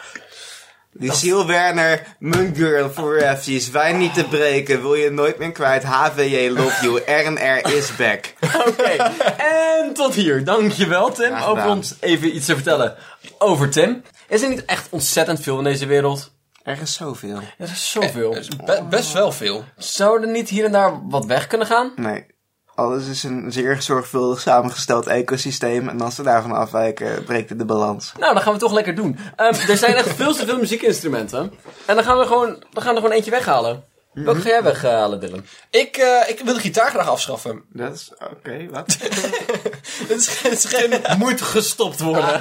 B: Lucille Werner, mijn girl for refugees. Wij niet te breken, wil je nooit meer kwijt. HVJ love you, RNR is back.
A: Oké, en tot hier. Dankjewel Tim,
B: Graag
A: over
B: gedaan.
A: ons even iets te vertellen over Tim. Is er niet echt ontzettend veel in deze wereld?
B: Er is zoveel.
A: Er is zoveel.
C: Dat is be- best wel veel.
A: Zou er niet hier en daar wat weg kunnen gaan?
B: Nee, alles is een zeer zorgvuldig samengesteld ecosysteem. En als ze daarvan afwijken, breekt het de balans.
A: Nou, dan gaan we toch lekker doen. Ehm, er zijn echt veel te veel muziekinstrumenten. En dan gaan we, gewoon, dan gaan we er gewoon eentje weghalen. Welke ga jij weghalen, Dylan?
C: Ik, eh, ik wil de gitaar graag afschaffen.
B: Dat is, oké, wat?
C: Het is, het is geen...
A: Moet gestopt worden.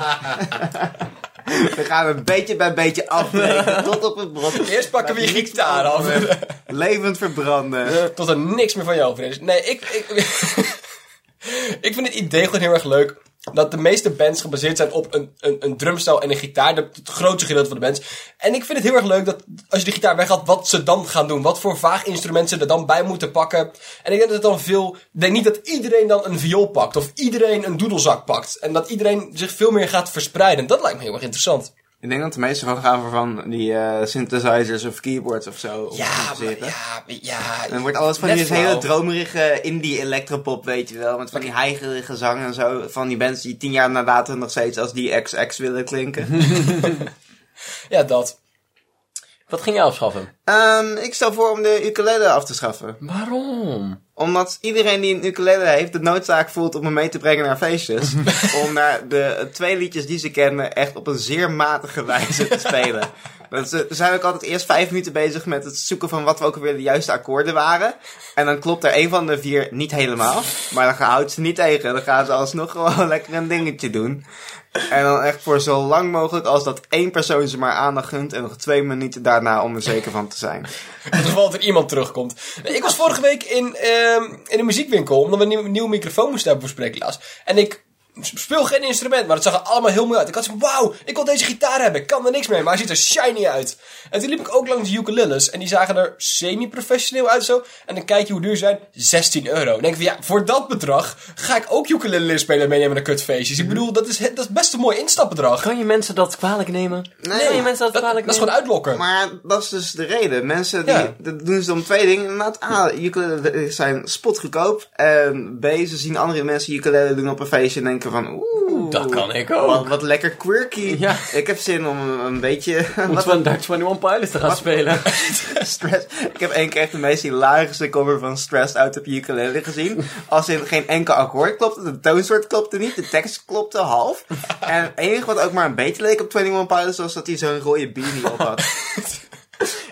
B: We gaan een beetje bij beetje afbreken tot op het brot.
C: Eerst pakken we je gitaar af.
B: Levend verbranden.
C: Eh, Tot er niks meer van jou over is. Nee, ik... Ik, ik vind het idee gewoon heel erg leuk. Dat de meeste bands gebaseerd zijn op een, een, een drumstijl en een gitaar. De- Het grootste gedeelte van de bands. En ik vind het heel erg leuk dat als je de gitaar weghaalt, wat ze dan gaan doen. Wat voor vaag instrument ze er dan bij moeten pakken. En ik denk dat het dan veel... Ik denk niet dat iedereen dan een viool pakt. Of iedereen een doedelzak pakt. En dat iedereen zich veel meer gaat verspreiden. Dat lijkt me heel erg interessant.
B: Ik denk dat de meeste van gaan voor van die eh, synthesizers of keyboards of zo. om te
C: Ja, maar,
B: zitten.
C: ja, ja.
B: En dan wordt alles van
C: net
B: die hele
C: flauw.
B: dromerige indie electropop, weet je wel. Met van die heigerige zang en zo. Van die bands die tien jaar na later nog steeds als die XX willen klinken.
C: Ja, dat.
A: Wat ging jij afschaffen?
B: Ehm, ik stel voor om de ukulele af te schaffen.
A: Waarom?
B: Omdat iedereen die een ukulele heeft de noodzaak voelt om hem mee te brengen naar feestjes. om naar de twee liedjes die ze kennen echt op een zeer matige wijze te spelen. Want ze ze zijn ook altijd eerst vijf minuten bezig met het zoeken van wat we ook weer de juiste akkoorden waren. En dan klopt er een van de vier niet helemaal. Maar dan houdt ze niet tegen. Dan gaan ze alsnog gewoon lekker een dingetje doen. En dan echt voor zo lang mogelijk als dat één persoon ze maar aandacht gunt. En nog twee minuten daarna om er zeker van te zijn.
C: In het geval dat er iemand terugkomt. Nee, Ik was vorige week in, ehm, in een muziekwinkel, omdat we een nieuw- nieuwe microfoon moesten hebben voor Spreeklaas. En ik s- speel geen instrument, maar het zag er allemaal heel mooi uit. Ik had zo, wauw, ik wil deze gitaar hebben, ik kan er niks mee, maar hij ziet er shiny uit. En toen liep ik ook langs de ukuleles en die zagen er semi-professioneel uit zo. En dan kijk je hoe duur ze zijn, 16 euro. Dan denk ik van, ja, voor dat bedrag ga ik ook ukulele leren spelen en meenemen naar kutfeestjes. Ik bedoel, dat is, he- dat is best een mooi instapbedrag.
A: Kan je mensen dat kwalijk nemen?
B: Nee,
A: kan je mensen dat,
C: Dat,
A: kwalijk
C: dat is
A: nemen?
C: gewoon uitlokken.
B: Maar dat is dus de reden. Mensen die,
C: Ja.
B: dat doen ze om twee dingen. Inderdaad, A, ukulele zijn spotgoedkoop. En B, ze zien andere mensen ukulele doen op een feestje en denken van... Oeh,
A: Dat kan ik ook.
B: Wat, wat lekker quirky.
A: Ja.
B: Ik heb zin om een, een beetje... wat
A: Moeten we een Dutch 21 Pilots te gaan spelen?
B: stress. Ik heb één keer echt de meest hilarische cover van Stressed Out op ukulele gezien. Als in geen enkel akkoord klopte, de toonsoort klopte niet, de tekst klopte half. En het enige wat ook maar een beetje leek op 21 Pilots was dat hij zo'n rode beanie op had.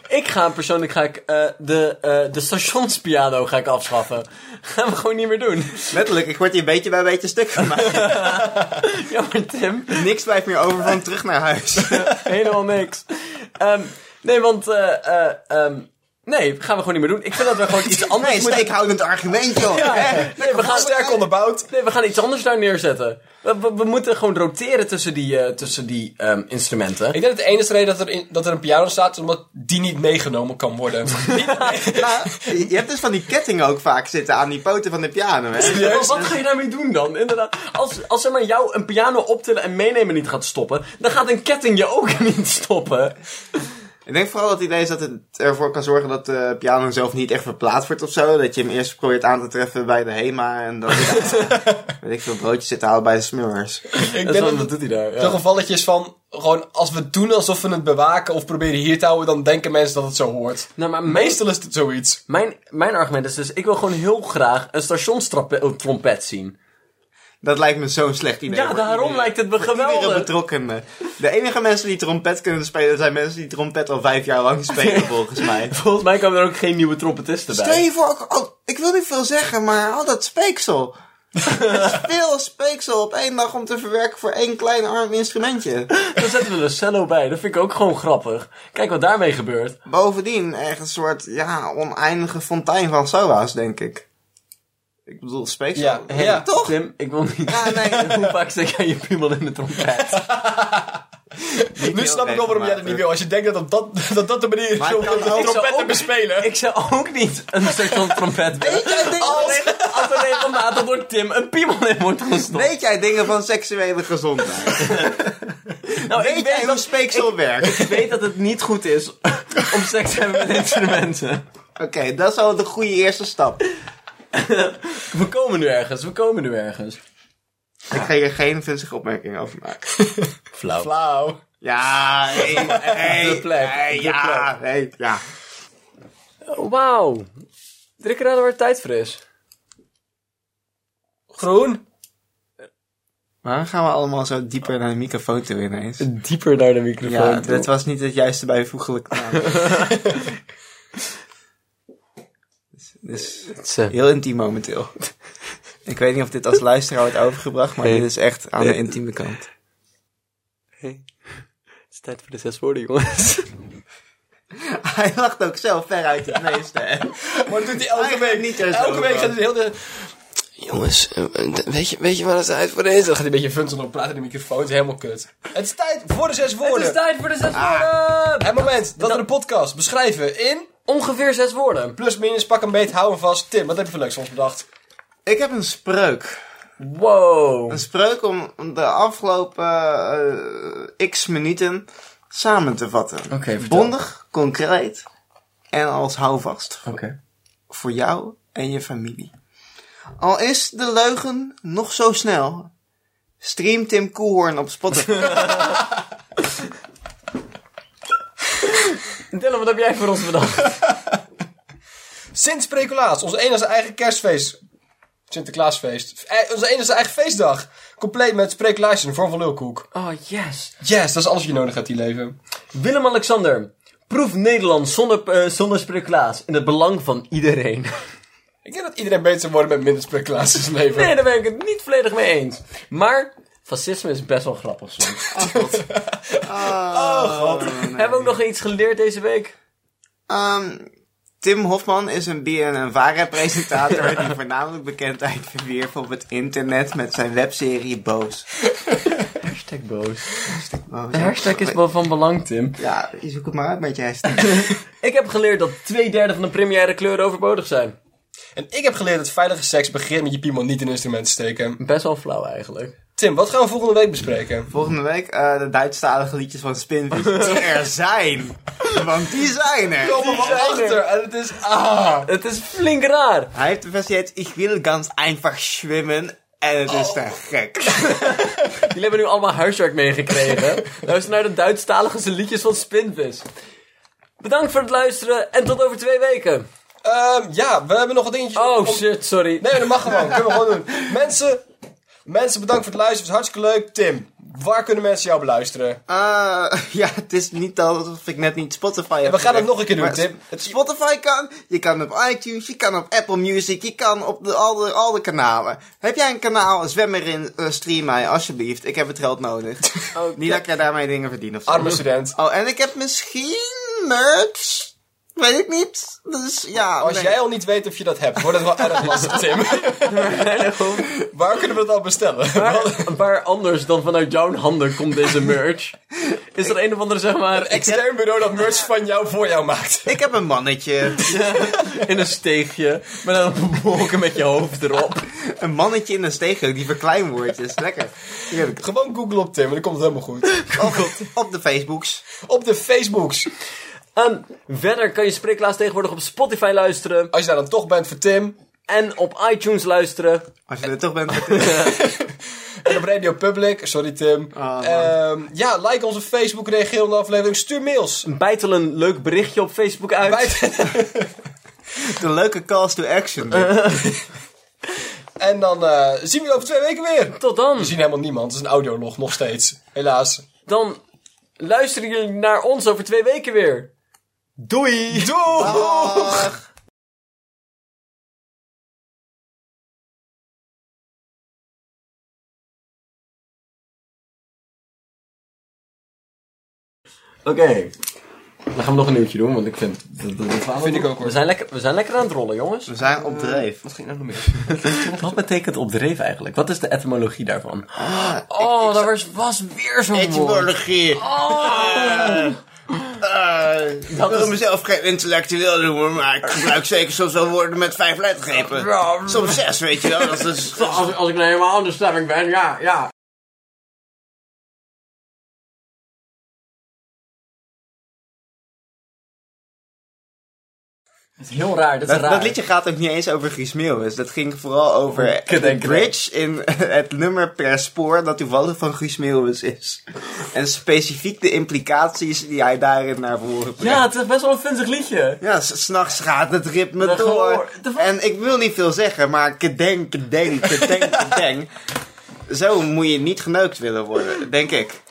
A: Ik ga persoonlijk ga ik, eh, de, eh, de stationspiano ga ik afschaffen. Gaan we gewoon niet meer doen.
B: Letterlijk, ik word hier beetje bij beetje stuk gemaakt.
A: Jammer Tim,
B: Niks blijft meer over van terug naar huis.
A: helemaal niks. Ehm, nee, want... eh, eh, ehm, nee, gaan we gewoon niet meer doen. Ik vind dat we gewoon iets anders
B: Nee, Eh,
A: moeten...
B: steekhoudend argument, joh.
A: Ja,
B: Hè?
A: nee, we gaan,
C: Sterk onderbouwd.
A: nee, we gaan iets anders daar neerzetten. We, we, we moeten gewoon roteren tussen die, eh, tussen die ehm, instrumenten.
C: Ik denk dat de enige reden dat er, in- dat er een piano staat, is omdat die niet meegenomen kan worden.
B: Nou, je je hebt dus van die kettingen ook vaak zitten aan die poten van de piano, hè?
A: Ja, maar wat ga je daarmee doen dan? Inderdaad. Als, als er maar jou een piano optillen en meenemen niet gaat stoppen, dan gaat een ketting je ook niet stoppen.
B: Ik denk vooral dat het idee is dat het ervoor kan zorgen dat de piano zelf niet echt verplaatst wordt of zo. Dat je hem eerst probeert aan te treffen bij de HEMA en dan weet ik veel broodjes zitten halen bij de Smurfs.
C: Ik
A: Dat
C: denk
A: is
C: dat
A: wel-
C: het
A: wat doet hij daar?
C: zo'n
A: Ja.
C: gevalletje is van, gewoon als we doen alsof we het bewaken of proberen hier te houden, dan denken mensen dat het zo hoort.
A: Nou, maar meestal...
C: Meestal is het zoiets.
A: Mijn, mijn argument is dus, ik wil gewoon heel graag een stationstrompet zien.
B: Dat lijkt me zo'n slecht idee.
A: Ja,
B: voor
A: daarom
B: iedereen.
A: lijkt het me eh,
B: Iedere
A: geweldig.
B: betrokkenen. eh. De enige mensen die trompet kunnen spelen zijn mensen die trompet al vijf jaar lang spelen, volgens mij.
A: Volgens mij komen er ook geen nieuwe trompetisten
B: Stel
A: bij.
B: je voor, ook- oh, ik wil niet veel zeggen, maar al dat speeksel. Het is veel speeksel op één dag om te verwerken voor één klein arm instrumentje.
A: Dan zetten we er cello bij. Dat vind ik ook gewoon grappig. Kijk wat daarmee gebeurt.
B: Bovendien echt een soort, ja, oneindige fontein van soa's, denk ik. Ik bedoel, speeksel.
C: Ja, ja.
B: toch?
A: Tim, ik wil niet...
B: Ja, nee.
A: Hoe vaak steek jij je piemel in de trompet?
C: Nu snap ik wel waarom jij dat niet wil. Als je denkt dat dat, dat, dat de manier is
B: Maar het
C: om
B: kan
C: de
B: ook-
C: trompet te bespelen.
A: ik zou ook niet een station trompet willen. Als, als er regelmatig door Tim een piemel in wordt gestopt.
B: Weet jij dingen van seksuele gezondheid?
A: nou,
B: Weet jij hoe
A: dat-
B: speeksel werkt?
A: Ik weet dat het niet goed is om seks te hebben met instrumenten.
B: Oké, dat is al de goede eerste stap.
A: We komen nu ergens, we komen nu ergens.
B: Ik ga hier geen vinstige opmerking over maken.
A: Flauw.
C: Flauw.
B: Ja, hé, hé,
A: De plek,
B: hé,
A: de
B: ja, hé, ja.
A: Wauw. Drie keer aan waar tijd voor is.
C: Groen.
B: Waarom gaan we allemaal zo dieper naar de microfoon toe ineens?
A: Dieper naar de microfoon.
B: Ja, dit was niet het juiste bijvoeglijk naam. dus heel intiem momenteel. Ik weet niet of dit als luisteraar wordt overgebracht, maar
A: Nee.
B: dit is echt aan de
A: Nee.
B: intieme kant.
A: Het is tijd voor de zes woorden, jongens.
B: Hij lacht ook zelf veruit het meeste. hè.
C: Maar dat doet hij elke
B: Eigenlijk
C: week.
B: niet
C: Niet
B: er zo
C: elke week
B: van.
C: gaat het heel de... Jongens, eh, weet je, weet je waar het tijd voor is? Dan gaat hij een beetje funzel op praten in de microfoon. Het is helemaal kut. Het is tijd voor de zes
A: Het
C: woorden.
A: is tijd voor de zes woorden!
C: Het moment dat we de podcast beschrijven in...
A: Ongeveer zes woorden.
C: Plus, minus, pak een beet, hou hem vast. Tim, wat heb je voor leuks ons bedacht?
B: Ik heb een spreuk.
A: Wow.
B: Een spreuk om de afgelopen eh, x minuten samen te vatten.
A: Oké, vertel.
B: Bondig, concreet en als houvast.
A: Oké.
B: voor jou en je familie. Al is de leugen nog zo snel. Stream Tim Koelhoorn op Spotify.
A: Dylan, wat heb jij voor ons bedacht?
C: Sint Spreculaas, onze enige eigen kerstfeest. Sinterklaasfeest. Eh, Onze enige eigen feestdag. Compleet met spreculaas in de vorm van lulkoek.
A: Oh, yes.
C: Yes, dat is alles wat je nodig hebt in je leven.
A: Willem-Alexander. Proef Nederland zonder, eh, zonder speculaas. In het belang van iedereen.
C: Ik denk dat iedereen beter zou worden met minder spreculaas in zijn leven.
A: Nee, daar ben ik het niet volledig mee eens. Maar fascisme is best wel grappig soms. Oh, Hebben we ook nog iets geleerd deze week?
B: Ehm, Tim Hofman is een BN en Vara presentator die voornamelijk bekendheid verwierf op het internet met zijn webserie Boos.
A: Hashtag boos.
B: Boos.
A: De hashtag is wel van belang, Tim.
B: Ja, je zoekt het maar uit met je hashtag.
A: Ik heb geleerd dat twee derde van de primaire kleuren overbodig zijn.
C: En ik heb geleerd dat veilige seks begint met je piemel niet in een instrument te steken.
A: Best wel flauw eigenlijk.
C: Tim, wat gaan we volgende week bespreken?
B: Volgende week eh, de Duitsstalige liedjes van Spinvis die er zijn. Want die zijn er.
C: Kom er wel achter en het is... Ah!
A: Het is flink raar.
B: Hij heeft de versie Ik wil ganz einfach zwemmen en het
C: Oh.
B: is te gek.
A: Jullie hebben nu allemaal huiswerk meegekregen. Luister naar de Duitsstalige liedjes van Spinvis. Bedankt voor het luisteren en tot over twee weken.
C: Ehm, ja, we hebben nog wat dingetjes...
A: Oh
C: om-
A: shit, sorry.
C: Nee, dat mag gewoon. Kunnen we gewoon doen. Mensen, mensen bedankt voor het luisteren. Het was hartstikke leuk. Tim, waar kunnen mensen jou beluisteren?
B: Ah, ja, het is niet alsof ik net niet Spotify heb.
C: We gaan het
B: gezegd.
C: nog een keer doen,
B: Maar
C: Tim.
B: Sp- Spotify kan, je kan op iTunes, je kan op Apple Music, je kan op de, al, de, al de kanalen. Heb jij een kanaal, zwem erin, eh, stream mij alsjeblieft. Ik heb het geld nodig.
A: Oké.
B: Niet dat jij daarmee dingen verdient of zo.
C: Arme student.
B: Oh, en ik heb misschien merch? Weet ik niet. Dus ja,
C: Als
B: nee.
C: jij al niet weet of je dat hebt, wordt het wel erg lastig, Tim. waar kunnen we dat dan bestellen?
A: Waar, waar anders dan vanuit jouw handen komt deze merch? Is er een of andere, zeg maar,
C: Extern bureau dat merch van jou voor jou maakt.
B: Ik heb een mannetje.
A: in een steegje met een wolken met je hoofd erop?
B: een mannetje in een steegje die verklein wordt. is lekker. Heerlijk.
C: Oh Gewoon Google op Tim en dan komt het helemaal goed.
B: Op, op de Facebooks.
C: Op de Facebooks.
A: Ehm, verder kan je Spreeklaas tegenwoordig op Spotify luisteren.
C: Als je daar dan toch bent voor Tim.
A: En op iTunes luisteren.
B: Als je er toch bent.
C: En op Radio Public. Sorry Tim.
B: Ah, man.
C: Ehm, ja, like onze Facebook. Reageer op de aflevering. Stuur mails.
A: Bijtel een leuk berichtje op Facebook uit.
C: Wij-
B: De leuke calls to action.
C: Eh.
B: dit.
C: en dan eh, zien we je over twee weken weer.
A: Tot
C: We
A: dan.
C: zien helemaal niemand. Het is een audiolog nog steeds. Helaas.
A: Dan luisteren jullie naar ons over twee weken weer. Doei!
C: Doei!
B: Dag.
A: Oké. Dan gaan we nog een uurtje doen, want ik vind... Dat, dat, dat
C: Vind ik ook, hoor.
A: We zijn, lekker, we zijn lekker aan het rollen, jongens.
B: We zijn op dreef.
C: Wat ging nou nog meer?
A: Wat betekent opdreef eigenlijk? Wat is de etymologie daarvan?
B: Ah,
A: Oh, daar was, was weer zo'n woord. Ah.
B: etymologie.
C: Oh.
B: Eh, ik wil mezelf geen intellectueel noemen, maar ik gebruik zeker soms wel woorden met vijf lettergrepen. Soms zes, weet je wel. Dat is,
A: Als, als ik nou helemaal anders stemming ben, ja, ja. Het is heel raar, dat is
B: dat,
A: raar.
B: dat liedje gaat ook niet eens over Guus Meeuwis. Dat ging vooral over
A: Kut,
B: de
A: denk ik wel.
B: bridge in het nummer per spoor dat toevallig van Guus Meeuwis is. En specifiek de implicaties die hij daarin naar voren brengt.
A: Ja, het is best wel een vunzig liedje.
B: Ja, s- s'nachts gaat het ritme
A: Dat
B: door.
A: gehoor- de-
B: En ik wil niet veel zeggen, maar kedeng, kedeng, kedeng, kedeng. Zo moet je niet geneukt willen worden, denk ik.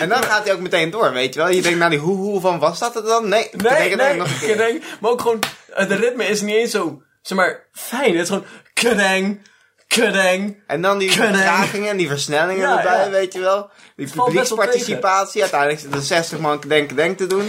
B: en dan gaat hij ook meteen door, weet je wel. Je denkt, nou die hoe van, was dat het dan? Nee,
A: Nee,
B: kedeng, kedeng,
A: nee,
B: nog een keer.
A: kedeng. Maar ook gewoon, het ritme is niet eens zo, zeg maar, fijn. Het is gewoon kedeng, kedeng.
B: En dan die
A: Kedeng.
B: vertragingen en die versnellingen
A: Ja,
B: erbij,
A: ja.
B: weet je wel. Die
A: valt best wel
B: publieksparticipatie. Uiteindelijk zitten er 60 man kedeng, kedeng te doen.